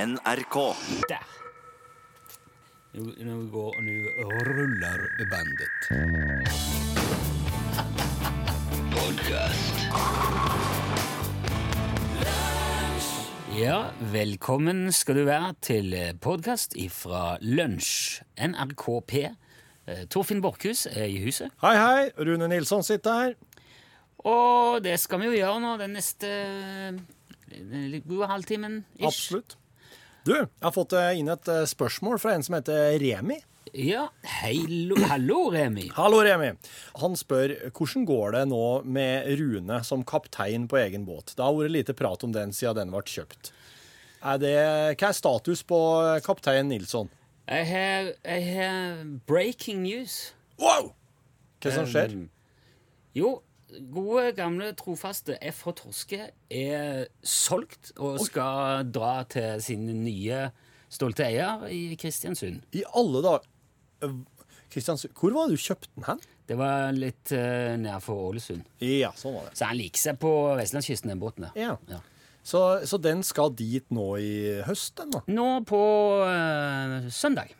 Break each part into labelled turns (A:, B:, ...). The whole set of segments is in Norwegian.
A: NRK.
B: Der. Nå, nå går Nå ruller bandet. Ja, velkommen skal du være til podkast ifra Lunsj, NRKP. Eh, Torfinn Borchhus er i huset,
C: Hei, hei. Rune Nilsson sitter her.
B: og det skal vi jo gjøre nå den neste eh, litt gode halvtimen. ish.
C: Absolutt. Du, jeg har fått eh, inn et eh, spørsmål fra en som heter Remi.
B: Ja, hei, lo, hallo, Remi.
C: Hallo, Remi. Han spør hvordan går det nå med Rune som kaptein på egen båt. Det har vært lite prat om den siden den ble kjøpt. Er det, hva er status på eh, kaptein Nilsson?
B: Jeg har, jeg har breaking news. Um,
C: Wow! Um. Hva som skjer?
B: Jo, gode, gamle, trofaste FH Torske er solgt og skal dra til sin nye stolte eier i Kristiansund.
C: I alle dager Kristiansund, hvor var det du kjøpte den hen?
B: Det var litt uh, nærfor Ålesund.
C: Ja, sånn var det.
B: Så han liker seg på vestlandskysten, den båten der.
C: Ja.
B: Ja.
C: Så, så den skal dit nå i høst, den da?
B: Nå på eh, søndag.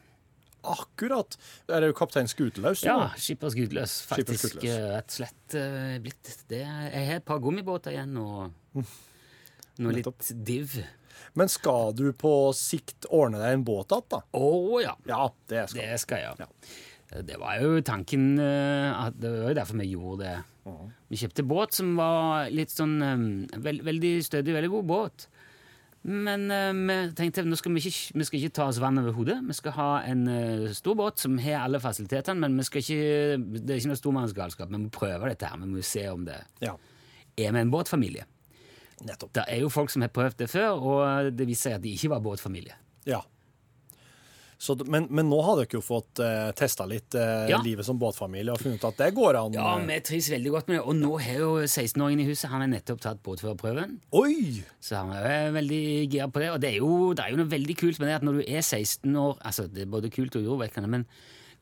C: Akkurat. Er det jo kaptein Skutelaus? nå?
B: Ja, Skippers Gudløs.
C: Skippers
B: Faktisk
C: Gudløs.
B: eh, rett og slett eh, blitt det. Jeg har et par gummibåter igjen og
C: Mm.
B: noe litt div.
C: Men skal du på sikt ordne deg en båt igjen, da?
B: Å ja.
C: Ja, det skal
B: Det skal jeg gjøre. Det var jo tanken eh, at Det var jo derfor vi gjorde det. Vi kjøpte båt som var litt sånn eh, vel- Veldig stødig, veldig god båt. Men eh, vi tenkte nå skal vi, ikke, vi skal ikke ta oss vann over hodet. Vi skal ha en eh, stor båt som har alle fasilitetene, men vi skal ikke, det er ikke noe stormannsgalskap. Vi må prøve dette her. Vi må se om det
C: Ja,
B: er vi en båtfamilie.
C: nettopp.
B: Det er jo folk som har prøvd det før, og det viser seg at de ikke var båtfamilie.
C: Ja. Så, d- men, men nå har dere jo fått uh, testa litt eh,
B: Ja.
C: livet som båtfamilie og funnet ut at det går an.
B: Ja,
C: eh.
B: vi trives veldig godt med det. Og nå har jo 16-åringen i huset han har nettopp tatt båtførerprøven.
C: Oi!
B: Så han er eh, veldig gira på det. Og det er, jo, det er jo noe veldig kult med det at når du er 16 år Altså, det er både kult og urovekkende, men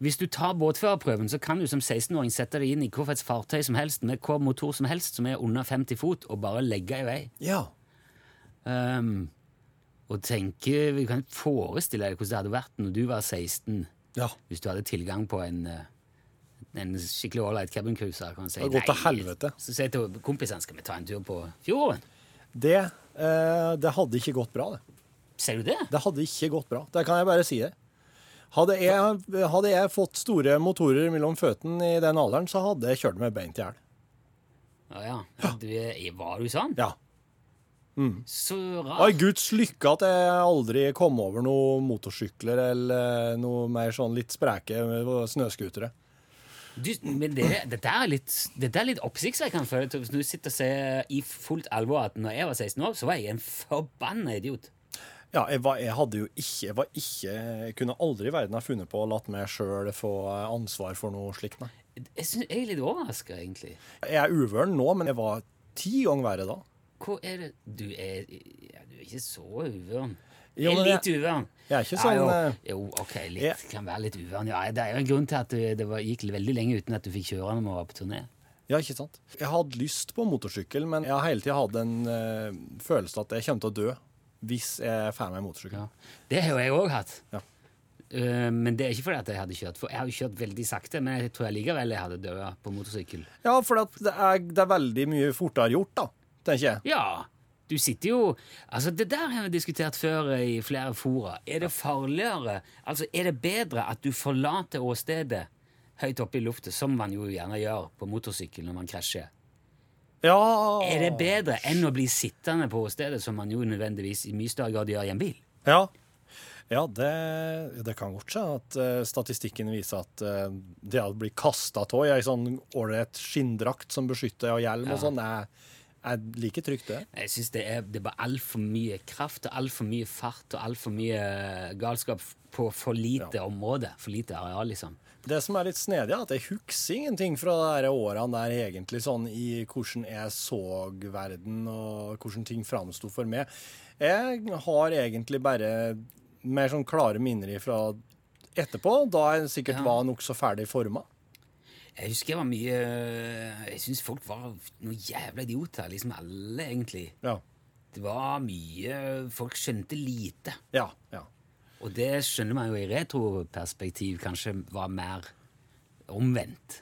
B: hvis du tar båtførerprøven, så kan du som 16-åring sette deg inn i hvilket fartøy som helst med hvilken motor som helst som er under 50 fot, og bare legge i vei.
C: Ja.
B: Ehm, og tenke Du kan forestille deg hvordan det hadde vært når du var 16,
C: ja.
B: hvis du hadde tilgang på en eh, en skikkelig ålreit cabincruiser. kan si.
C: Det har gått til
B: Nei,
C: helvete.
B: Så sier jeg til kompisene skal vi ta en tur på fjorden.
C: Det, eh, det hadde ikke gått bra, det.
B: Ser du det?
C: Det hadde ikke gått bra. Det kan jeg bare si det. Hadde jeg, hadde jeg fått store motorer mellom føttene i den alderen, så hadde jeg kjørt meg beint i hjel.
B: Å ja. Du, er- var du sånn?
C: Ja.
B: Så
C: Ai,
B: rart.
C: guds lykke at jeg aldri kom over noen motorsykler eller noe mer sånn litt spreke snøskutere.
B: Du, men det, det der er litt, det der er litt oppsiktsvekkende. føler jeg, Tobias, Når du sitter og ser i fullt alvor at når jeg var 16 år, så var jeg en forbanna idiot.
C: Ja, jeg, var, jeg hadde jo ikke Jeg var ikke jeg kunne aldri i verden ha funnet på å latt meg sjøl få eh, ansvar for noe slikt, nei.
B: Jeg, synes, jeg er litt overraska, egentlig.
C: Jeg er uvøren nå, men jeg var ti ganger verre da.
B: Hva er det Du er, ja, du er ikke så uvøren.
C: Jo,
B: jeg er
C: men
B: litt uvøren.
C: Jeg er ikke
B: Ja,
C: sånn
B: jo,
C: eh,
B: jo, ok, litt,
C: jeg-
B: kan være litt uvøren. Ja, det er jo en grunn til at det, det var, gikk veldig lenge uten at du fikk kjøre når vi var på turné.
C: Ja, ikke sant? Jeg hadde lyst på motorsykkel, men jeg har hele tida hatt en eh, følelse at jeg kommer til å dø hvis jeg får meg motorsykkel.
B: Ja. Det har jo jeg òg hatt.
C: Ja.
B: Eh, men det er ikke fordi at jeg hadde kjørt. For jeg har jo kjørt veldig sakte, men jeg tror jeg likevel jeg hadde dødd på motorsykkel.
C: Ja, for at det er, det er veldig mye fortere gjort, da, tenker jeg.
B: Ja, du sitter jo Altså, det der har vi diskutert før eh, i flere fora. Er det farligere? Altså, er det bedre at du forlater åstedet høyt oppe i lufta, som man jo gjerne gjør på motorsykkel når man krasjer?
C: Ja
B: Er det bedre enn å bli sittende på åstedet, som man jo nødvendigvis i mye større grad gjør i en bil?
C: Ja, ja det, det kan godt skje at eh, statistikken viser at eh, det å bli kasta av i ei sånn ålreit skinndrakt som beskytter og hjelm og sånn, er, er like trygt, det.
B: Jeg synes det er, det er bare altfor mye kraft og altfor mye fart og altfor mye eh, galskap på for lite område. For lite areal, liksom.
C: Det som er litt snedig, er at jeg husker ingenting fra de her årene der egentlig sånn i hvordan jeg så verden og hvordan ting framsto for meg. Jeg har egentlig bare mer sånn klare minner ifra etterpå, da jeg sikkert var nokså ferdig forma.
B: Jeg husker jeg var mye Jeg syns folk var noen jævla idioter. Liksom alle, egentlig.
C: Ja.
B: det var mye Folk skjønte lite.
C: Ja. ja.
B: Og det skjønner man jo i retroperspektiv kanskje var mer omvendt.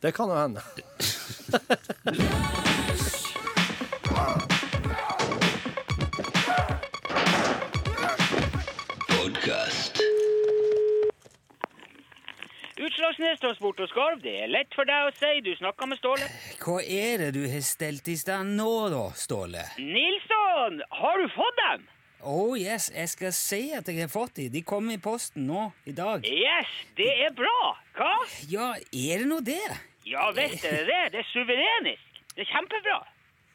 C: Det kan jo hende.
A: Utslagsnes Transport og Skarv, det er lett for deg å si. Du snakka med Ståle.
B: Hva er det du har stelt i stand nå, da, Ståle?
A: Nilsson, har du fått dem?
B: Oh yes, jeg skal se at jeg har fått de. De kom i posten nå i dag.
A: Yes, det er bra. Hva?
B: Ja, er det nå det?
A: Ja visst er det det. Det er suverenisk. Det er kjempebra.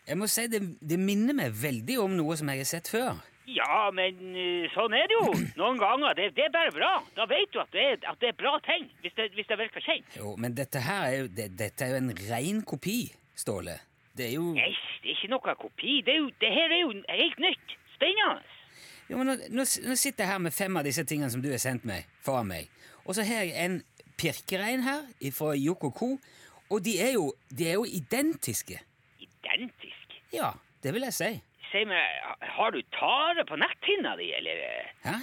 B: Jeg må si det, det minner meg veldig om noe som jeg har sett før.
A: Ja, men eh, sånn er det jo. Noen ganger. Det, det er bare bra. Da vet du at det er, at det er bra ting. Hvis det, hvis det virker kjent.
B: Jo, men dette her er jo, det, dette er jo en ren kopi, Ståle. Det er jo
A: Yes, det er ikke noe kopi. Det, er jo, det her er jo helt nytt. Spennende.
B: Jo, men nå, nå, s- nå sitter jeg her med fem av disse tingene som du har sendt meg, foran meg. Og så har jeg en pirkerein her fra Yoko Co. Og de er, jo, de er jo identiske.
A: Identisk.
B: Ja, det vil jeg si.
A: Si meg, har du tare på netthinna di, eller? eh,
B: Hæ?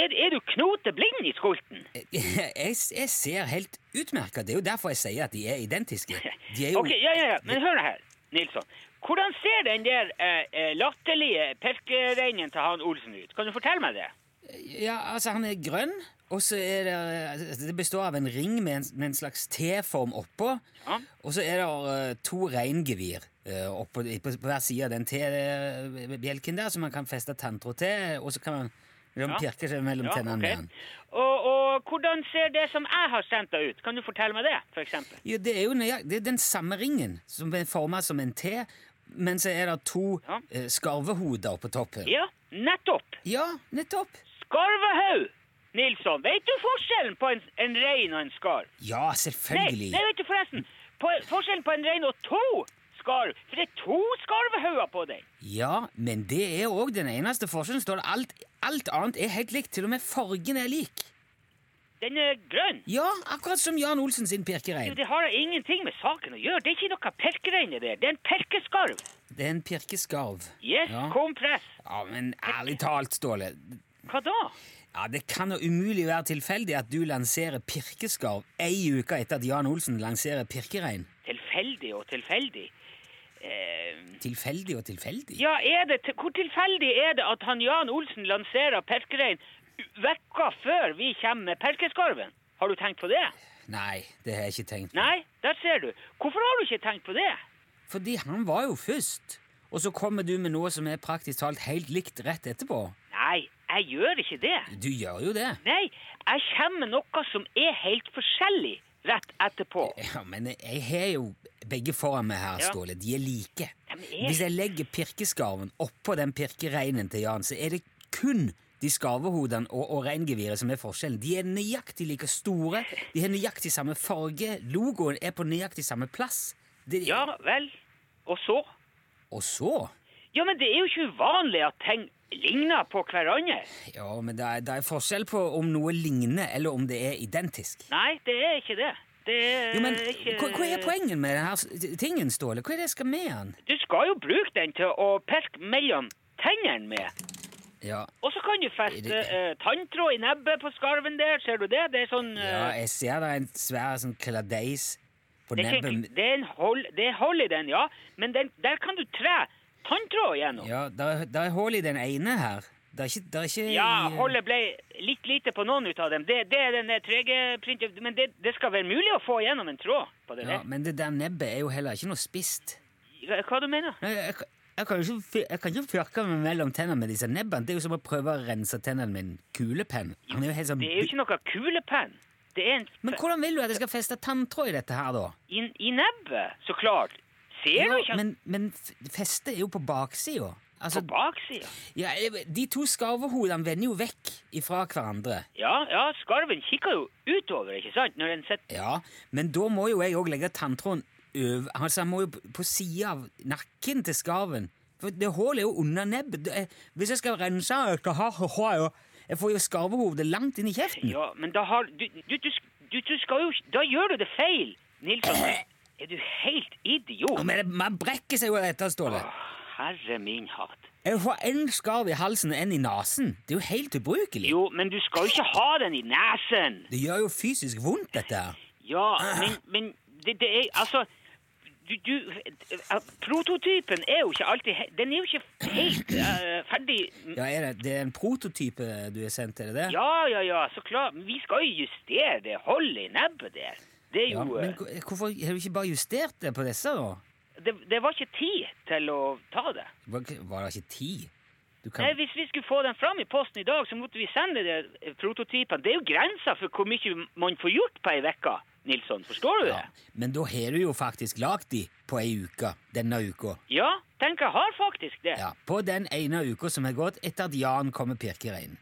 A: Er, er du knoteblind i skolten?
B: Jeg, jeg ser helt utmerka. Det er jo derfor jeg sier at de er identiske. De er jo
A: Ok, ja, ja, ja. Men hør nå her, Nilsson. Hvordan ser den der eh, eh, latterlige perkereinen til han Olsen ut? Kan du fortelle meg det?
B: Ja, altså, han er grønn, og så er det altså, Det består av en ring med en, med en slags T-form oppå.
A: Ja.
B: Og så er det eh, to reingevir eh, oppå, på, på hver side av den T-bjelken der, som man kan feste tanntråd til, og så kan man de pirke seg mellom
A: Ja,
B: tennene
A: ok.
B: med den.
A: Og, og hvordan ser det som jeg har sendt deg ut? Kan du fortelle meg det, for eksempel?
B: Ja, det er jo nøyaktig det er den samme ringen, som er forma som en T, men så er det to
A: Ja.
B: eh, skarvehoder på toppen.
A: Ja, nettopp.
B: ja nettopp!
A: Skarvehaug! Nilsson, vet du forskjellen på en, en rein og en skarv?
B: Ja, selvfølgelig.
A: Nei, nei, vet du forresten. På, forskjellen på en rein og to skarv, for det er to skarvehauger på den.
B: Ja, men det er òg den eneste forskjellen. står det. Alt, alt annet er helt likt. Til og med fargen er lik.
A: Den er grønn.
B: Ja, akkurat som Jan Olsen sin
A: Jo,
B: pirkerein.
A: Det har ingenting med saken å gjøre. Det er ikke noe perkerein i det. Det er en perkeskarv.
B: Det er en pirkeskarv.
A: Yes,
B: Ja.
A: kompress.
B: Ja, Men ærlig talt, Ståle.
A: Hva da?
B: Ja, Det kan jo umulig være tilfeldig at du lanserer pirkeskarv ei uke etter at Jan Olsen lanserer pirkerein.
A: Tilfeldig og tilfeldig. Eh,
B: Tilfeldig og tilfeldig?
A: ja, er det, til- hvor tilfeldig er det at han Jan Olsen lanserer perkerein vekka før vi kommer med perkeskarven? Har du tenkt på det?
B: Nei, det har jeg ikke tenkt på.
A: Nei, der ser du. Hvorfor har du ikke tenkt på det?
B: Fordi han var jo først. Og så kommer du med noe som er praktisk talt helt likt rett etterpå.
A: Nei, jeg gjør ikke det.
B: Du gjør jo det.
A: Nei, jeg kommer med noe som er helt forskjellig rett etterpå.
B: Ja, men jeg har jo begge foran meg her,
A: Ja.
B: Ståle. De er like.
A: Ja, men jeg-
B: Hvis jeg legger pirkeskarven oppå den pirkereinen til Jan, så er det kun de skarvehodene og, og reingeviret som er forskjellen. De er nøyaktig like store, de har nøyaktig samme farge, logoen er på nøyaktig samme plass. Det,
A: Ja vel. Og så?
B: Og så
A: Ja, men det er jo ikke uvanlig at ting ligner på hverandre.
B: Ja, men det er, det er forskjell på om noe ligner, eller om det er identisk.
A: Nei, det er ikke det. Det er
B: Jo, men
A: Eh, ikke
B: hva, hva er poenget med denne tingen, Ståle? Hva er det jeg skal med den?
A: Du skal jo bruke den til å pirke mellom tennene med.
B: Ja,
A: Og så kan du
B: Det-
A: feste eh, tanntråd i nebbet på skarven der, ser du det? Det er sånn
B: Ja,
A: eh,
B: jeg ser det er en svær sånn kladeis på
A: det, er ikke,
B: nebbet.
A: en- det, er en hold, det er hold i den, ja. Men den, der kan du tre tanntråd gjennom. Ja,
B: Ja, det er, der er hull i den ene her. Det er ikke, der er ikke i-
A: holdet ble litt lite på noen ut av dem. Det, det er den der trege printen, men det, det skal være mulig å få gjennom en tråd på det
B: Ja, Men det der nebbet er jo heller ikke noe spisst.
A: der. Hva du mener
B: Nei, Jeg, kan- jeg kan jo ikke fyr- jeg kan ikke fyrke meg mellom tennene med disse nebbene. Det er jo som å prøve å rense tennene med en kulepenn. Han er jo helt sånn...
A: Det er jo ikke noe kulepenn. Det er en
B: Men hvordan vil du at jeg skal feste tanntråd i dette her, da?
A: i, i nebbet, så klart. Ser du ikke
B: Ja,
A: at
B: men men f- festet er jo på baksida. Altså,
A: på baksida?
B: ja, de to skarvehodene vender jo vekk ifra hverandre.
A: Ja, ja, skarven kikker jo utover, ikke sant? Når den sitter
B: Ja, men da må jo jeg òg legge tanntråden over Altså, jeg må jo p- på sida av nakken til skarven. For det hullet er jo under nebbet. Det er- Hvis jeg skal rense det, da har- har jeg jo Jeg får jo skarvehodet langt inn i kjeften.
A: Ja, men da har du, du, du, du, du skal jo Da gjør du det feil, Nilsson. Er du helt idiot?
B: Men det- man brekker seg jo av dette, Ståle.
A: herre min hatt.
B: Jeg får én skarv i halsen og én i nesen. Det er jo helt ubrukelig.
A: Jo, men du skal jo ikke ha den i nesen!
B: Det gjør jo fysisk vondt, dette her.
A: Ja, men, men det, det er Altså du, du, eh, prototypen er jo ikke alltid he- Den er jo ikke helt eh, ferdig.
B: Ja, er det, det er en prototype du har sendt, er det det?
A: Ja, ja, ja, så klart. Men Vi skal jo justere det holdet i nebbet der. Det er
B: Ja,
A: jo
B: men
A: eh,
B: hvor- hvorfor har du ikke bare justert det på disse, da?
A: det, det var ikke tid til å ta det.
B: Var, var det ikke tid? Du kan...
A: Nei, Hvis vi skulle få den fram i posten i dag, så måtte vi sende de eh, prototypene. Det er jo grensa for hvor mye man får gjort på ei uke, Nilsson. Forstår du det?
B: Ja, Men da har du jo faktisk lagd de på ei uke denne uka.
A: Ja, tenk, jeg har faktisk det.
B: Ja, På den ene uka som har gått etter at Jan kom med pirkereinen.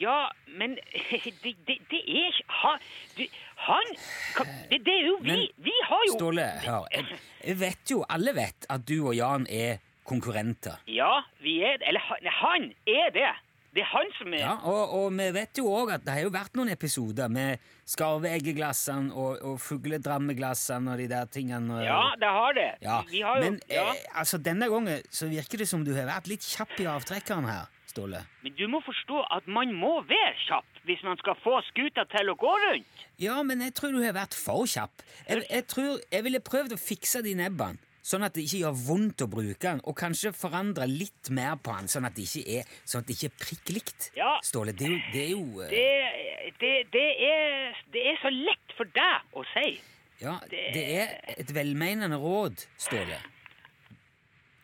A: Ja, men det, det, det er ikke ha, du, Han hva- det, det er jo vi.
B: Men,
A: vi har jo
B: Ståle, hør. Jeg, jeg vet jo, alle vet, at du og Jan er konkurrenter.
A: Ja, vi er Eller han, nei, han er det. Det er han som er
B: Ja, og, og vi vet jo òg at det har jo vært noen episoder med skarveeggeglassene og, og fugledrammeglassene og de der tingene. og-
A: Ja, det har det.
B: Ja,
A: Vi har jo
B: Men
A: ja.
B: eh, altså, denne gangen så virker det som du har vært litt kjapp i avtrekkeren her, Ståle.
A: Men du må forstå at man må være kjapp hvis man skal få skuta til å gå rundt.
B: Ja, men jeg tror du har vært for kjapp. Jeg, jeg tror jeg ville prøvd å fikse de nebbene, sånn at det ikke gjør vondt å bruke den, og kanskje forandre litt mer på den, sånn at det ikke er, sånn at det ikke er prikk likt.
A: Ja.
B: Ståle, det er jo, det er jo eh,
A: Det, det, det, er, det er så lett for deg å si.
B: Ja, det er et velmenende råd, Ståle.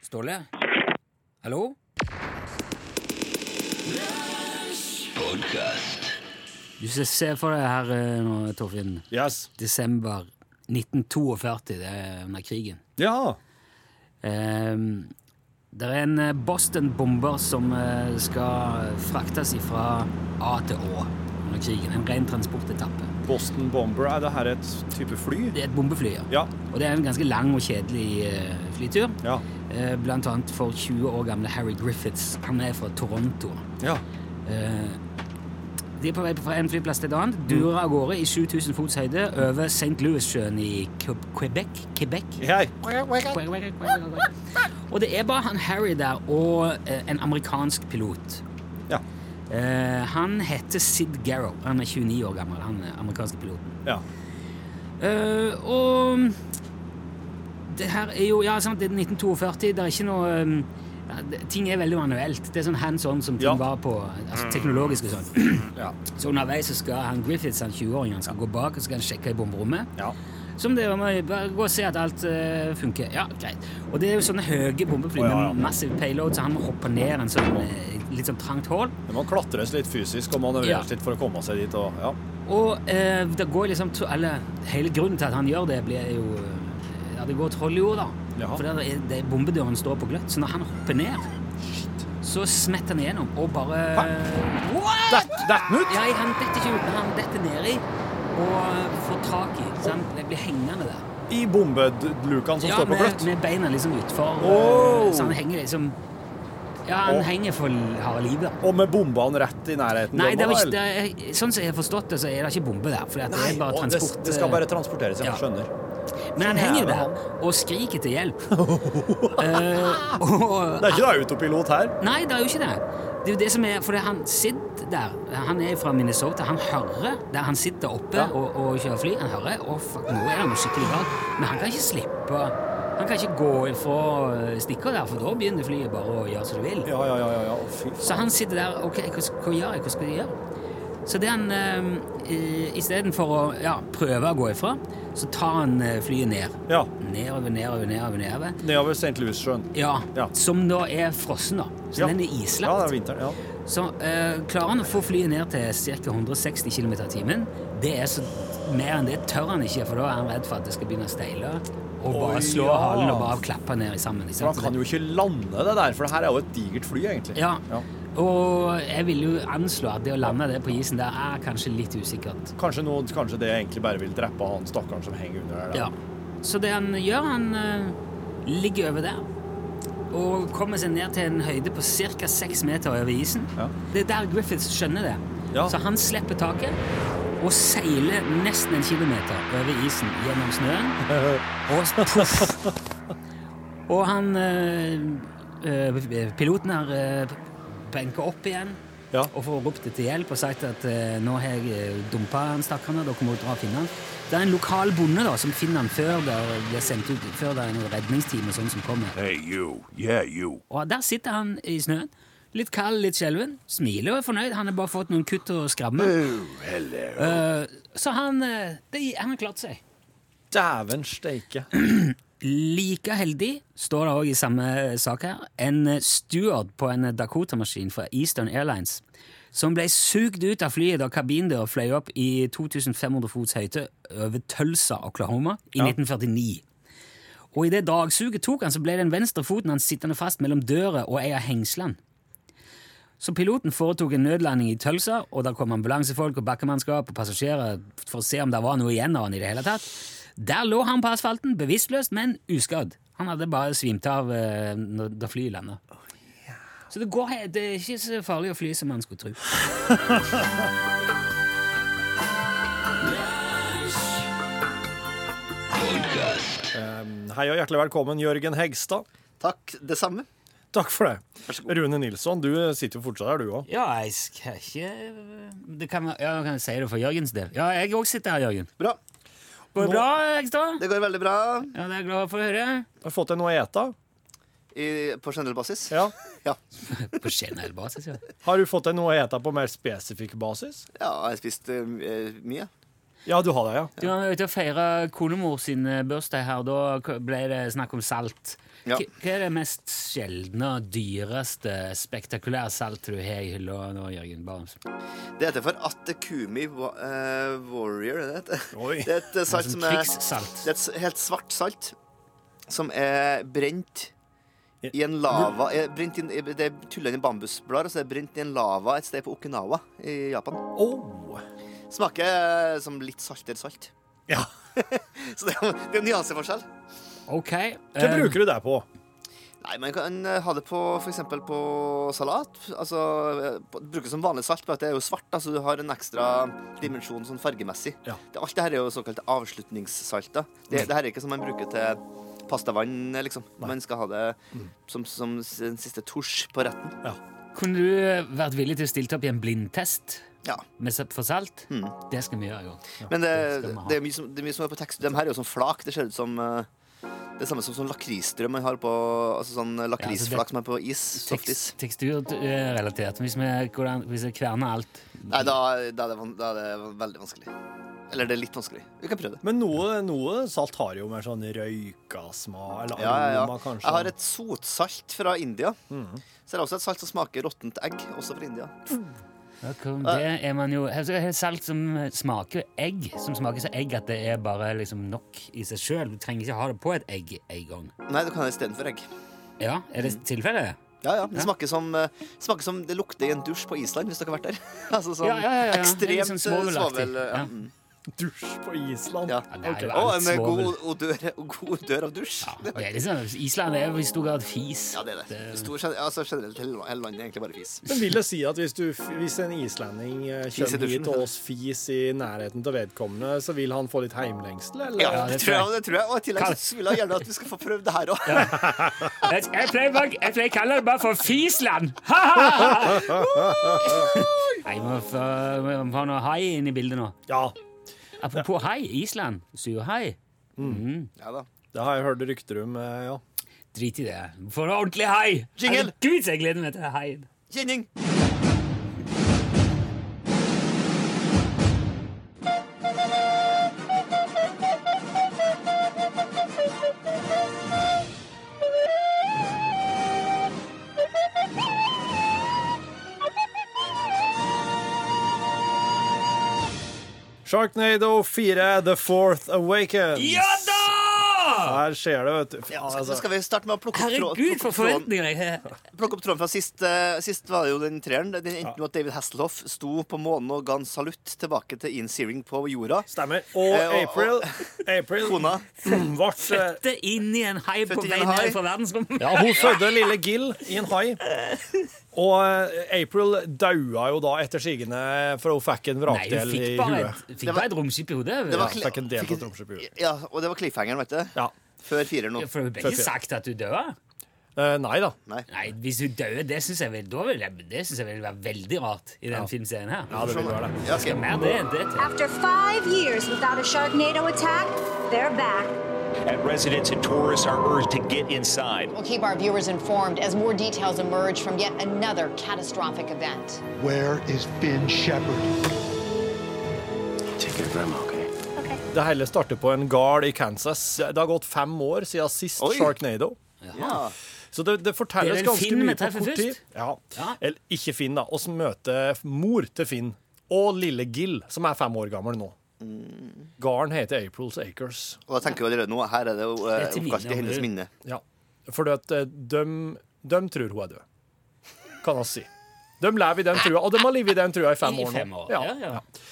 B: Ståle? Hallo? Du ser for deg her eh, nå, Torfinn.
C: Yes.
B: desember 1942, det er under krigen.
C: Ja.
B: Ehm, det er en eh, Boston-bomber som eh, skal fraktes fra A til Å under krigen. En ren transportetappe.
C: Boston Bomber, er det her et type fly?
B: Det er et bombefly, ja.
C: Ja.
B: Og det er en ganske lang og kjedelig eh, flytur.
C: Ja.
B: Eh, Blant annet for 20 år gamle Harry Griffiths. Han er fra Toronto.
C: Ja.
B: Eh, De er på vei fra en flyplass til en annen. Durer av gårde i 7000 fots høyde over St. Louis-sjøen i Queb- Quebec. Quebec.
C: Her.
B: Og det er bare han Harry der og eh, en amerikansk pilot.
C: Ja.
B: Eh, han heter Sid Garrow. Han er 29 år gammel, han eh, amerikanske piloten.
C: Ja.
B: Eh, og det her er jo Ja, sant, det er 1942. Det er ikke noe eh, ja, det- Ting er veldig manuelt. Det er sånn hands on som ting
C: Ja.
B: var på altså, teknologisk og sånn.
C: Ja.
B: Så underveis så skal han Griffiths, han 20-åringen, han skal gå bak og så skal han sjekke i bomberommet.
C: Ja.
B: Som det var med, bare gå og se at alt eh, funker. Ja, greit. Og det er jo sånne høye bombefly
C: Å, ja, ja.
B: med massiv payload, så han må hoppe ned en sånn eh, litt sånn trangt hull.
C: Det må klatres litt fysisk og manøvreres litt for å komme seg dit. Og, ja.
B: Og eh, det går liksom tro- Eller hele grunnen til at han gjør det, blir jo eh, Ja, det går troll i jord, da.
C: Jaha.
B: For der er, det, bombedøren står på gløtt. Så når han hopper ned, så smetter han igjennom og bare What?
C: Det, det er ut!
B: Ja, han detter ikke ut, men han detter nedi og får tak i. Så han blir hengende der.
C: I bombelukene som står på
B: med,
C: gløtt.
B: med beina liksom utfor.
C: Oh!
B: Så han henger liksom Ja, han
C: Oh.
B: henger for harde livet.
C: Og med bombene rett i nærheten.
B: Nei, det
C: må
B: var ikke,
C: vel-
B: det er, sånn som jeg har forstått det, så er det ikke bombe der. For det
C: Nei,
B: er bare
C: og det,
B: transport.
C: det skal bare transporteres, jeg
B: Ja.
C: skjønner.
B: Men han henger jo
C: Jævla
B: der og skriker til hjelp. Eh, og
C: Det er ikke noe autopilot her.
B: Nei, det er jo ikke det. Det er jo det som er, for det er han sitter der, han er fra Minnesota, han hører der han sitter oppe
C: Ja.
B: og, og kjører fly, han hører, å fuck, nå er det noe skikkelig galt, men han kan ikke slippe, han kan ikke gå ifra eh, stikker der, for da begynner flyet bare å gjøre som det vil.
C: Ja, ja, ja. ja, ja. Å, Fy
B: Så han sitter der, ok, hva, sk- hva gjør jeg, hva skal jeg gjøre? Så det han, eh, i- i stedet for å ja, prøve å gå ifra, så tar han eh, flyet ned.
C: Ja.
B: Nedover, nedover, nedover, nedover.
C: Nedover St. Louis-sjøen.
B: Ja,
C: Ja.
B: som da er frossen da. Så
C: Ja.
B: den er islagt.
C: Ja, det er vinteren. Ja.
B: Så eh, klarer han å få flyet ned til ca. 160 km i timen. Det er så mer enn det tør han ikke, for da er han redd for at det skal begynne å steile. Og bare
C: Oi,
B: slå
C: ja.
B: halen og bare klappe ned i sammen. Ikke
C: For
B: sant?
C: han kan jo ikke lande det der, for det her er jo et digert fly, egentlig.
B: ja.
C: Ja.
B: Og jeg vil jo anslå at det å lande det på isen der er kanskje litt usikkert.
C: Kanskje, noe, kanskje det egentlig bare vil drepe han stakkaren som henger under der. da.
B: Ja. Så det han gjør, han eh, ligger over der. Og kommer seg ned til en høyde på ca. seks meter over isen.
C: Ja.
B: Det er der Griffiths skjønner det.
C: Ja.
B: Så han slipper taket og seiler nesten en kilometer over isen gjennom snøen. Og, s- puff. og han eh, eh, piloten har eh, benka opp igjen
C: Ja.
B: og får ropt etter hjelp og sagt at eh, nå har jeg eh, dumpa han stakkaren, og dere må dra og finne han. Det er en lokal bonde da, som finner han før det blir sendt ut, før det er en redningsteam og sånn som kommer.
D: Hey, you. Yeah, you.
B: Og der sitter han i snøen. Litt kald, litt skjelven. Smiler og er fornøyd. Han har bare fått noen kutt og skrammer.
D: Oh, hello.
B: Eh, så han, eh, det, han har klart seg.
C: Dæven steike.
B: Like heldig, står det òg i samme sak her, en steward på en Dakota-maskin fra Eastern Airlines som ble sugd ut av flyet da kabindøra fløy opp i 2500 fots høyde over Tulsa, Oklahoma, i 1949. Og idet dragsuget tok han, så ble den venstre foten hans sittende fast mellom døra og ei av hengslene. Så piloten foretok en nødlanding i Tølsa, og der kom ambulansefolk og bakkemannskap og passasjerer for å se om det var noe igjen av han i det hele tatt. Der lå han på asfalten, bevisstløst, men uskadd. Han hadde bare svimt av eh, når- da flyet landa. Så det, går, he- det er ikke så farlig å fly som man skulle tro.
C: Hei og hjertelig velkommen, Jørgen Hegstad.
E: Takk, det samme.
C: Takk for det. Rune Nilsson, du sitter jo fortsatt her, du òg.
B: Ja, jeg skal ikke eh, det kan, være- ja, kan jeg si det for Jørgens del? Ja, jeg òg sitter her, Jørgen.
E: Bra.
B: Går det bra, Ekstad?
E: Det går veldig bra
B: Ja, det er jeg glad for å høre.
C: Har fått deg noe å ete?
E: i, på generell basis.
C: Ja.
E: Ja.
B: På generell basis, ja.
C: Har du fått deg noe å ete på mer spesifikk basis?
E: Ja, jeg har spist eh, mye.
C: Ja, du har det, ja.
B: Du var ute og feira konemor sin eh, bursdag her. Da k- ble det snakk om salt.
E: Ja.
B: K- Hva er det mest sjeldne, dyreste, spektakulære saltet du har i hylla nå, Jørgen Barms?
E: Det heter for Atekumi Wa- eh, Warrior. er Det, heter.
C: Oi.
E: det er et eh, salt
B: Sånn
E: som er
B: krigssalt.
E: Det er et s- helt svart salt som er brent i en lava er brent inn, Det er tulla inn i bambusblader, og så er det brent i en lava et sted på Okinawa i Japan.
C: Oh.
E: Smaker eh, som litt saltere salt.
C: Ja.
E: Så det er, det er nyanseforskjell.
B: Ok.
C: Hva
B: eh,
C: bruker du det på?
E: Nei, man kan eh, ha det på f.eks. på salat. Altså, eh, på- Bruke som vanlig salt, bare at det er jo svart, da, så du har en ekstra dimensjon sånn fargemessig.
C: Ja.
E: Det, alt det her er jo såkalt avslutningssalter.
B: Mm.
E: Det, det her er ikke som man bruker til pastavann, eh, liksom. Man skal ha det
B: Mm.
E: som, som s- en siste tusj på retten.
B: Kunne du eh, vært villig til å stille opp i en blindtest
E: Ja.
B: med sa- for salt? Det skal vi gjøre i år.
E: Hmm. Men det,
B: det skal man ha.
E: det, er mye som, det er mye som er på tekst. De her er jo sånn flak. Det ser ut som eh, det samme som sånn lakrisstrøm man har på altså sånn
B: det-
E: lakrisflak som er på is. Softis.
B: Tekst, teksturrelatert. Hvis vi går an- hvis jeg kverner alt
E: Nei, da, da, er det, van- da er det veldig vanskelig. Eller det er litt vanskelig. Vi kan prøve det.
C: Men noe, noe salt har jo mer sånn røyka smak, eller
E: Ja,
C: aroma,
E: ja, Mm. ja.
C: kanskje.
E: Jeg har et sotsalt fra India. Så er det også et salt som smaker råttent egg, også fra India.
B: Ja, kom, Det er man jo altså, det er Salt som smaker egg, som smaker så egg at det er bare liksom nok i seg sjøl. Du trenger ikke ha det på et egg en gang.
E: Nei, du kan ha det istedenfor egg.
B: Ja, er det tilfellet?
E: Ja, ja. Det smaker som, eh, smaker som det lukter i en dusj på Island, hvis dere har vært der. altså sånn
B: Ja, ja, ja, ja. Det er litt
E: ekstremt
B: sånn
E: eh,
B: svovelaktig.
E: svovel... eh,
B: Ja.
E: mm,
C: Dusj på Island.
E: ja.
B: Ja, det er jo
E: Og
B: alt
E: en god
B: svovel.
E: odør, god odør av dusj.
B: Ja, det er liksom, Island er jo i stor grad fis.
E: Ja, det er det. Stor, gen- altså generelt hele hele landet er egentlig bare fis.
C: Men vil det si at hvis, du, hvis en islending eh,
E: Fis i
C: kommer
E: dusjen,
C: hit og oss fis i nærheten av vedkommende, så vil han få litt heimlengsel, eller?
E: Ja,
B: Ja,
E: det
B: det
E: tror
B: tror
E: jeg. Det tror jeg. Og i tillegg så vil jeg gjerne at vi skal få prøvd det her òg.
B: Jeg, jeg pleier bare- jeg pleier å kalle det bare for Fisland! Nei, vi må få vi må få noe hai inn i bildet nå.
C: Ja,
B: Apropos hai. Island. Surhai.
E: Ja da.
C: det har jeg hørt rykter om, eh, ja.
B: Drit i det. Få noe ordentlig hai!
E: Jingle!
B: Herregud, så jeg gleder meg til haien.
E: Kjenning!
C: Sharknado 4, The Fourth Awakens.
B: Ja da!
C: Her skjer det, vet du.
E: Ja,
C: Altså,
E: så skal vi starte med å plukke opp, tråd,
B: Herregud,
E: plukke
B: for
E: opp tråden.
B: forventninger jeg har!
E: Plukke opp tråden fra sist. eh, sist var det jo den treeren. Den endte med at David Hasselhoff sto på månen og ga en salutt tilbake til Ian Searing på jorda.
C: Stemmer. Og
E: Eh, og-
C: April, April
E: Kona.
C: ble eh,
B: Fødte inn i en hai på
E: Født inn i
B: vei
E: en hai.
B: ned fra verdensrommet.
C: Ja, hun fødte lille Gill i en hai. Og eh, April daua jo da etter sigende, for hun fikk en
B: Nei, hun
C: vrakdel i
B: fikk bare
C: huet.
B: et, fikk bare et romskip i hodet.
E: Det var
C: Ja, fikk en del på tromskipet.
E: Ja, og det var cliffhangeren, vet du.
C: Ja.
E: Før fireren nå.
B: For hun ble ikke sagt at du døde.
C: Eh, nei da.
E: Nei.
B: Nei, hvis hun dør, det syns jeg, vil- da vil jeg, det synes jeg vil være veldig rart i den filmserien her.
C: Ja, det vil være det.
E: Ja, ok.
B: Skal mer det enn det til.
F: After five years without a Sharknado attack, they're back.
G: And residents and tourists are urged to get inside.
H: We'll keep our viewers informed as more details emerge from yet another catastrophic event.
I: Where is Finn Shepard?
D: Take care of grandma, okay?
C: Det hele starter på en gard i Kansas. Det har gått fem år siden sist
E: Oi.
C: Sharknado.
E: Ja.
C: Så det, det
B: Det
C: fortelles
B: er vel
C: ganske
B: Finn vi
C: mye på
B: treffer
C: kort
B: først?
C: tid. Ja.
B: Ja.
C: Eller ikke Finn, da. Vi møter mor til Finn og lille Gill, som er fem år gammel nå. Garden heter Aprils Acres.
E: Og jeg tenker jo allerede nå, her er det jo eh,
B: Det er til minne
E: oppkast
B: om
E: i hennes
B: hun.
E: minne.
C: Ja. For at eh, de, de tror hun er død, kan vi si. De lever i den trua, og de har levd i den trua i fem
B: I
C: år
B: fem
C: nå.
B: år.
C: Ja.
B: Ja, ja.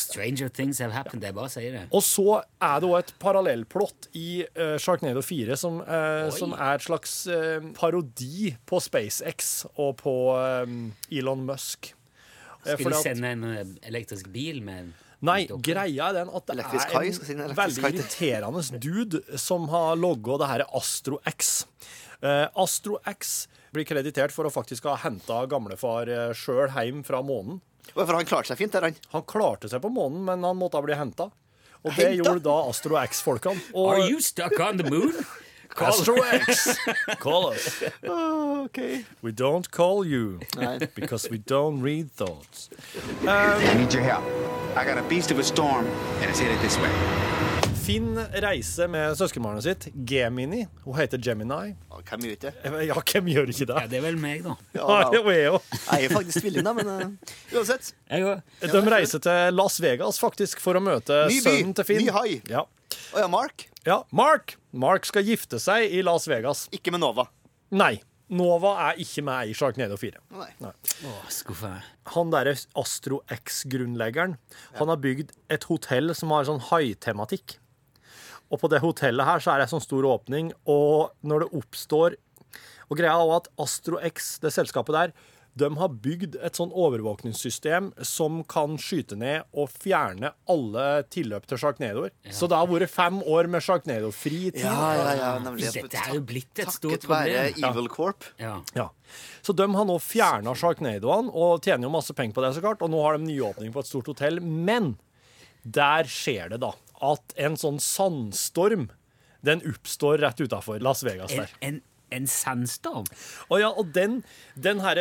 B: Stranger things have happened. Jeg bare sier det.
C: Og så er det òg et parallellplott i eh, Sharknado 4 som, eh,
B: Oi.
C: som er et slags eh, parodi på SpaceX og på eh, Elon Musk. Eh,
B: Skulle
C: fordi at-
B: sende en eh, elektrisk bil med en
C: Nei,
B: dokke.
C: greia er den at det
E: Elektrisk
C: er
E: kai,
C: en
E: skal jeg si, en elektrisk
C: veldig
E: kai.
C: irriterende dude som har logga det her AstroX. Eh, AstroX blir kreditert for å faktisk ha henta gamlefar eh, sjøl hjem fra månen.
E: Og For han klarte seg fint der, han.
C: Han klarte seg på månen, men han måtte ha blitt henta. Og det
E: Hentet?
C: gjorde da AstroX-folkene. Og-
B: Are you stuck on the moon? Call-
C: AstroX! Call us. Ah, We don't call you
E: Nei.
C: because we don't read thoughts.
J: I need your help. I got a beast of a storm, and it's headed this way.
C: Finn reiser med søskenbarnet sitt, Gemini. Hun heter Gemini.
E: Å, Hvem gjør ikke det?
C: Ja, hvem gjør ikke det?
B: Ja, det er vel meg, da.
E: Ja,
C: Ja,
E: da.
C: hun er jo.
E: Jeg er faktisk villig, da, men eh, uansett.
B: Jeg òg.
C: De reiser til Las Vegas faktisk for å møte
E: Ny by,
C: sønnen til Finn.
E: ny hai.
C: Ja.
E: Å ja, Mark.
C: ja, Mark Mark skal gifte seg i Las Vegas.
E: Ikke med Nova.
C: Nei, Nova er ikke med i Sharknado 4.
E: Nei.
B: Å, skuffa.
C: Han derre Astro X-grunnleggeren, han har bygd et hotell som har sånn haitematikk. Og på det hotellet her så er det en sånn stor åpning, og når det oppstår Og greia er også at Astro X, det selskapet der, de har bygd et sånn overvåkningssystem som kan skyte ned og fjerne alle tilløp til sjarknedoer. Så det har vært fem år med sjarknedofri tid.
E: Ja, ja, ja, nemlig.
B: Dette er jo blitt et stort
E: Takket være
B: problem.
E: Evil Corp.
B: Ja.
C: Ja. Så de har nå fjerna Sharknadoene og tjener jo masse penger på det, så klart. Og nå har de nyåpning på et stort hotell. Men der skjer det, da, at en sånn sandstorm den oppstår rett utafor Las Vegas
B: En,
C: der.
B: en, en sandstorm?
C: Og, ja, og den, den her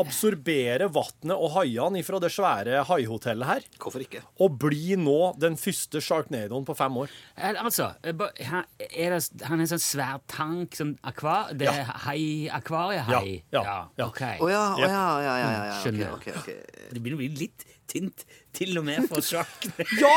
C: absorberer vannet og haiene ifra det svære haihotellet her.
E: Hvorfor ikke?
C: Og blir nå den første Sharknadoen på fem år.
B: Al- Altså, eh, ba- her er det, han er en sånn svær tank, sånn akva... Det er hai, akvariehai?
C: Ja, ja, ja.
B: ok.
E: Å ja, å ja, ja, ja. ja, ja. ok,
B: Skjønner.
E: ok, ok.
B: Det begynner å bli litt tynt, til og med for sjakk.
C: Ja!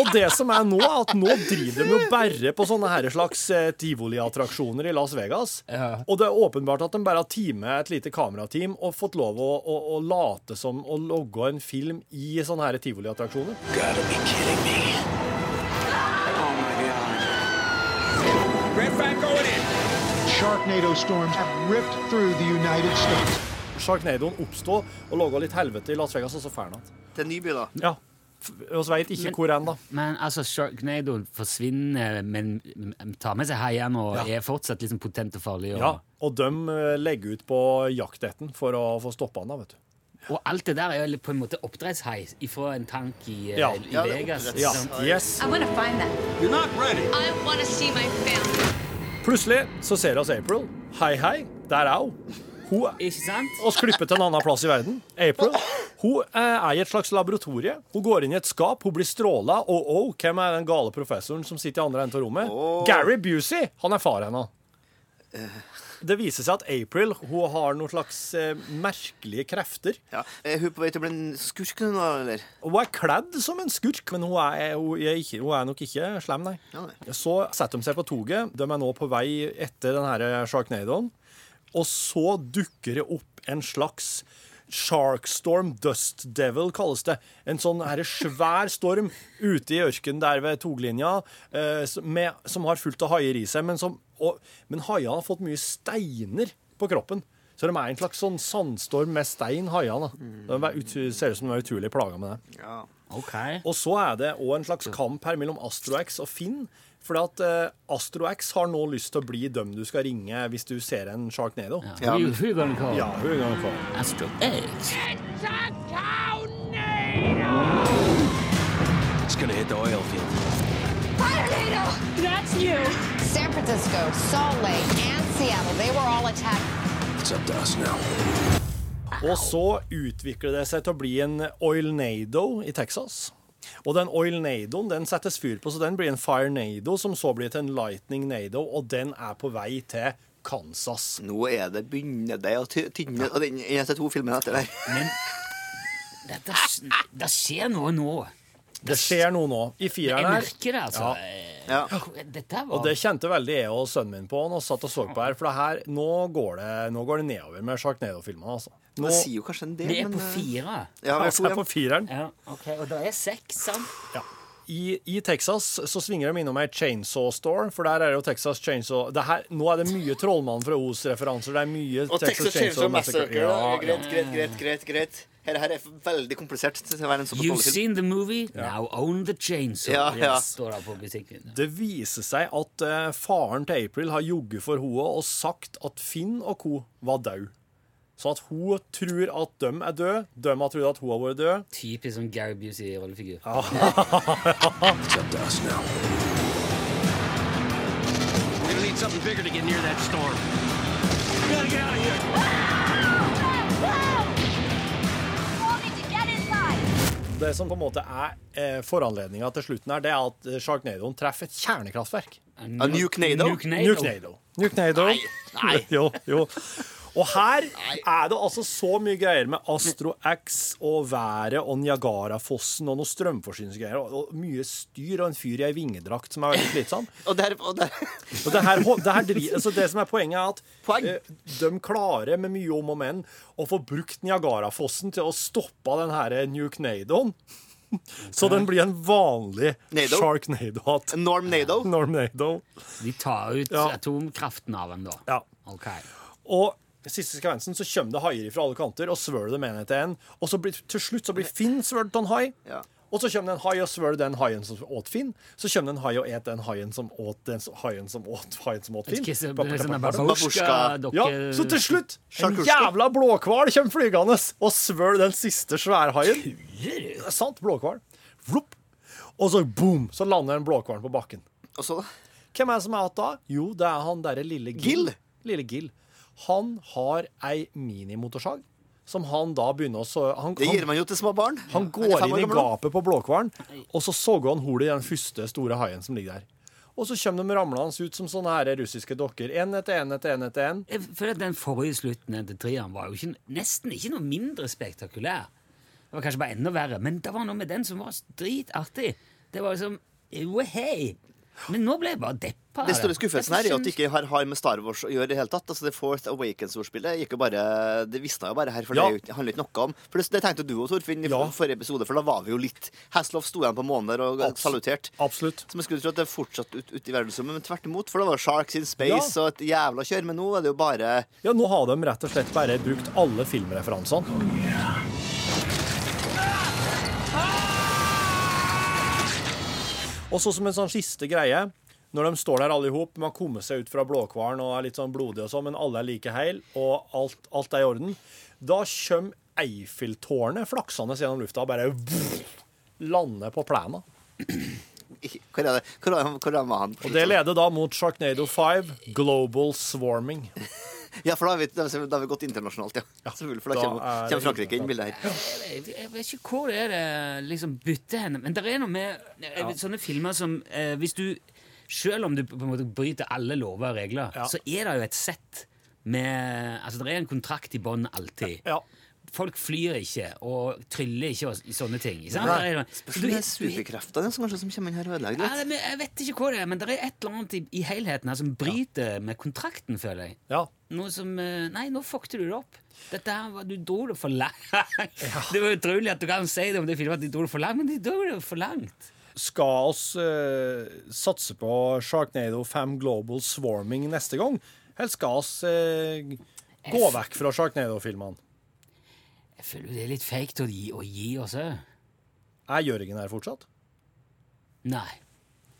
C: Og det som er nå, er at nå driver de jo bare på sånne her slags eh, tivoliattraksjoner i Las Vegas.
B: Ja.
C: Og det er åpenbart at de bare har teamet et lite kamerateam og fått lov å, å, å late som å logge en film i sånne her tivoliattraksjoner.
D: Gotta be kidding me.
I: Sharknado storms have ripped through the United States.
C: Sharknadoen oppstod og laga litt helvete i Las Vegas, og så ferna han.
E: Til en ny by, da.
C: Ja. F- oss vet ikke hvor ennå.
B: Men altså, Sharknado forsvinner, men men tar med seg haiene og
C: Ja.
B: er fortsatt liksom potent og farlig. Og,
C: Ja. Og de eh, legger ut på jakt etter den for å få stoppa han, da, vet du.
B: og alt det der er jo på en måte oppdrettshai fra en tank i, eh,
C: Ja.
B: i
E: Ja, det er
B: Vegas.
E: oppdretts-
C: Ja.
B: liksom.
C: Yes.
H: I want to find them.
D: You're not ready.
H: I want to see my family.
C: Plutselig så ser oss April. Hei, hei. Der er hun. Hun
B: Ikke sant?
C: oss klippe til en annen plass i verden. April. Hun eh, er i et slags laboratorie. Hun går inn i et skap, hun blir stråla. Og oh, hvem er den gale professoren som sitter i andre enden av rommet? Gary Busey! Han er far henne. Det viser seg at April hun har noen slags eh, merkelige krefter.
E: Ja. Er hun på vei til å bli en skurk nå, eller?
C: Hun er kledd som en skurk, men hun er, hun er, ikke, hun er nok ikke slem, nei.
E: Ja, nei.
C: Så setter de seg på toget. De er nå på vei etter den her Sharknadoen. Og så dukker det opp en slags Sharkstorm, Dust Devil kalles det. En sånn her svær storm ute i ørkenen der ved toglinja, eh, som- med, som har fullt av haier i seg. Men, som- og- men haiene har fått mye steiner på kroppen. Så de er
E: Mm.
C: en slags sånn sandstorm med stein, haiene. da. De er ut- ser ut som de er utrolig plaga med det.
E: Ja.
B: Ok.
C: Og så er det òg en slags kamp her mellom AstroX og Finn. For at eh, AstroX har nå lyst til å bli dem du skal ringe hvis du ser en Sharknado.
B: Who you- who you gonna call?
C: Ja, hun er gonna call.
B: Astro X.
D: It's gonna hit the oil field.
F: That's you.
H: San Francisco, Salt Lake, and Seattle, they were all attacked.
D: It's up to us now.
C: Og så utvikler det seg til å bli en oilnado i Texas. Og den oilnadoen den settes fyr på, så den blir en firenado, som så blir til en lightningnado, og den er på vei til Kansas.
E: Nå er det begynner det å ty- tynne Og den eneste to filmene etter der.
B: Dette, det skjer noe nå.
C: Det skjer noe nå i
B: Jeg
C: fireren her.
B: merker det, altså.
E: Ja.
B: Eh, Dette
C: Og
B: var
C: det kjente veldig jeg og sønnen min på når vi satt og så på her, for det her, nå går det, nå går det nedover med Sharknado-filmene, altså. Nå,
E: Det sier jo kanskje en del,
B: Det er
E: men eh,
B: på
H: eh,
B: fire.
E: Ja, vi er
C: altså,
E: to
C: jeg er
E: igjen.
C: på fireren.
B: Ja, ok. Og det er seks, sant?
C: Ja. I, I Texas så svinger de innom ei chainsaw store, for der er det jo Texas Chainsaw det her, Nå er det mye Trollmann fra Os-referanser. Det er mye
E: Og Texas Chainsaw Massacre.
C: Ja,
E: da. Greit, greit, greit. greit, greit. Her, her er veldig komplisert til å være en såpass
B: You've
E: dårlig film.
B: seen the movie, now own the chainsaw.
E: Ja, ja.
B: Står det på butikken.
C: Det viser seg at eh, faren til April har jogget for henne og sagt at Finn og co. var død. Sånn at hun tror at de er døde, de har trodd at hun har vært død.
B: Typisk som Gary Busey-rollefigur.
D: It's up to us now. We're gonna need something bigger to get near that storm. We gotta get out of here.
C: Det som på en måte er eh, foranledninga til slutten her, det er at eh, Sharknadoen treffer et kjernekraftverk.
E: A Nuke Nado?
C: Nuknado. Nuknado. Nei. jo, jo. Og her er det altså så mye greier med Astro X og været og Niagarafossen og noe strømforsyningsgreier og, og mye styr og en fyr i ei vingedrakt som er veldig slitsom.
E: Og der, og der.
C: Og det, her, det, her, dri- altså det som er poenget, er at
E: Poeng.
C: eh, de klarer med mye om og men å få brukt Niagarafossen til å stoppe den her Nuknadoen. Så den blir en vanlig
E: Nado.
C: Sharknado-hatt.
E: Norm Nado.
C: Normnado.
B: De tar ut
C: Ja.
B: atomkraften av den, da.
C: Ja.
B: Ok.
C: Og siste sekvensen så kommer det haier fra alle kanter og svøler dem en etter en. Og så blir, til slutt så blir Finn svølt av en hai.
E: Ja.
C: Og så kommer det en hai og svøler den haien som åt Finn. Så kommer det en hai og et den haien som åt den som- haien som åt haien som åt Finn.
B: Ikke så-
C: Bap, bap,
B: sånn der
C: bap, bap.
B: babushka, dokke-
C: Ja, så til slutt en
E: Sjarkuska.
C: jævla blåhval kommer flygende og svøler den siste sværhaien. Det er sant, blåhval. Vlopp. Og så boom, så lander den blåhvalen på bakken.
E: Og så, da?
C: Hvem er det som er igjen da? Jo, det er han derre lille
E: Gill?
C: Gill. Lille Gill. Han har ei minimotorsag som han da begynner å så Han,
E: Det gir
C: han,
E: man jo til små barn.
C: han
E: Den er
C: går
E: fem år
C: inn i
E: gammel nå.
C: gapet på blåhvalen, og så såger han hulet i den første store haien som ligger der. Og så kommer de ramlende ut som sånne her russiske dokker. Én etter én etter én etter én.
B: Jeg føler Eh, at den forrige slutten til treeren var jo ikke, nesten ikke noe mindre spektakulær. Det var kanskje bare enda verre, men det var noe med den som var dritartig. Det var liksom Jo, hei! Men nå ble jeg bare deppa. av
E: Den store skuffelsen her er jo at det
B: Jeg
E: ikke har, har med Star Wars å gjøre i det hele tatt. Altså, det Fourth Awakens-ordspillet gikk jo bare Det visna jo bare her, for
C: Ja.
E: det er jo ikke- handler ikke noe om For det, det tenkte du og Torfinn, i
C: Ja.
E: forrige episode, for da var vi jo litt Hasselhoff sto igjen på månen der og
C: Abs-
E: salutert.
C: Absolutt.
E: Som jeg skulle tro at det fortsatt ut, ut i verdensrommet, men tvert imot. For da var det Sharks in Space
C: Ja.
E: og et jævla kjør. Men nå er det jo bare
C: Ja, nå har de rett og slett bare brukt alle filmreferansene. Og så som en sånn siste greie, når de står der alle i hop, man kommer seg ut fra blåkvaren og er litt sånn blodig og sånn, men alle er like heil, og alt, alt er i orden, da kommer Eiffeltårnet flaksende gjennom lufta og bare lander på plena.
E: Hvor er det? Hvor, er, hvor er han?
C: Og det leder da mot Sharknado 5, Global Swarming.
E: Ja, for da har vi, da har vi gått internasjonalt, ja. Selvfølgelig, for da,
C: da
E: kommer,
C: er det
E: kommer Frankrike inn i bildet her.
B: jeg vet ikke hvor det er det liksom bytter henne, men det er noe med eh, sånne filmer som eh, Hvis du Selv om du på en måte bryter alle lover og regler,
C: Ja.
B: så er det jo et sett med Altså, det er en kontrakt i bånn alltid.
C: Ja.
B: Folk flyr ikke og tryller ikke og s- sånne ting. Ikke sant?
E: Nei.
B: Det er-
E: Spørs om det er superkreftene som kanskje som kommer inn her og ødelegger
B: Ja,
E: litt.
B: det- men jeg vet ikke hva det er, men det er et eller annet i, i helheten her som bryter med kontrakten, føler jeg.
C: ja.
B: Noe som eh, Nei, nå fuckte du det opp. Dette her var, Du dro det for langt. Det var utrolig at du kan si det om det filmet, at de dro det for langt, men de dro det for langt.
C: Skal oss eh, satse på Sharknado 5 Global Swarming neste gang? Eller skal oss eh, gå vekk fra Sharknado-filmene?
B: Jeg føler jo det er litt fake å gi, å gi også.
C: Er Jørgen her fortsatt?
A: Nei.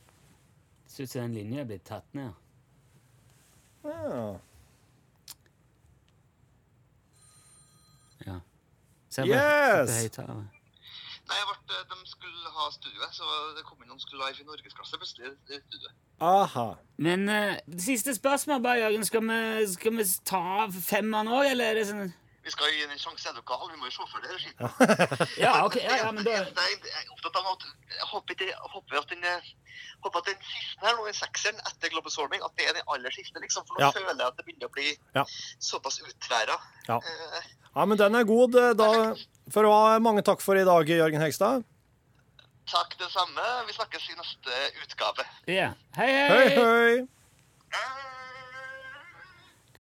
A: Det ser ut som den linja er blitt tatt ned.
C: Ja.
A: Ja. Se
C: Yes!
K: Nei, jeg ble, de skulle ha studioet, så det kom inn noen skulle live i norgesklasse plutselig. i studioet.
C: Aha.
A: Men eh, siste spørsmål, bare, Jørgen. Skal vi, skal vi ta femmeren òg, eller er det sånn
K: Vi skal jo gi den en sjanse i lokal, vi må jo se for det. skiten.
A: Ja, ok. Ja, ja, men det...
K: Jeg er opptatt av at jeg håper, ikke, jeg håper at den eh, håper at den siste her, nå, den sekseren etter Global Storming, at det er den aller siste, liksom. For nå
C: Ja.
K: føler jeg at det begynner å bli
C: Ja.
K: såpass utværa.
C: Ja. ja, men den er god. eh, Da, for å ha mange takk for i dag, Jørgen Hegstad.
K: Takk, det samme. Vi snakkes i neste utgave.
A: Ja. Hei,
C: Hei, hei.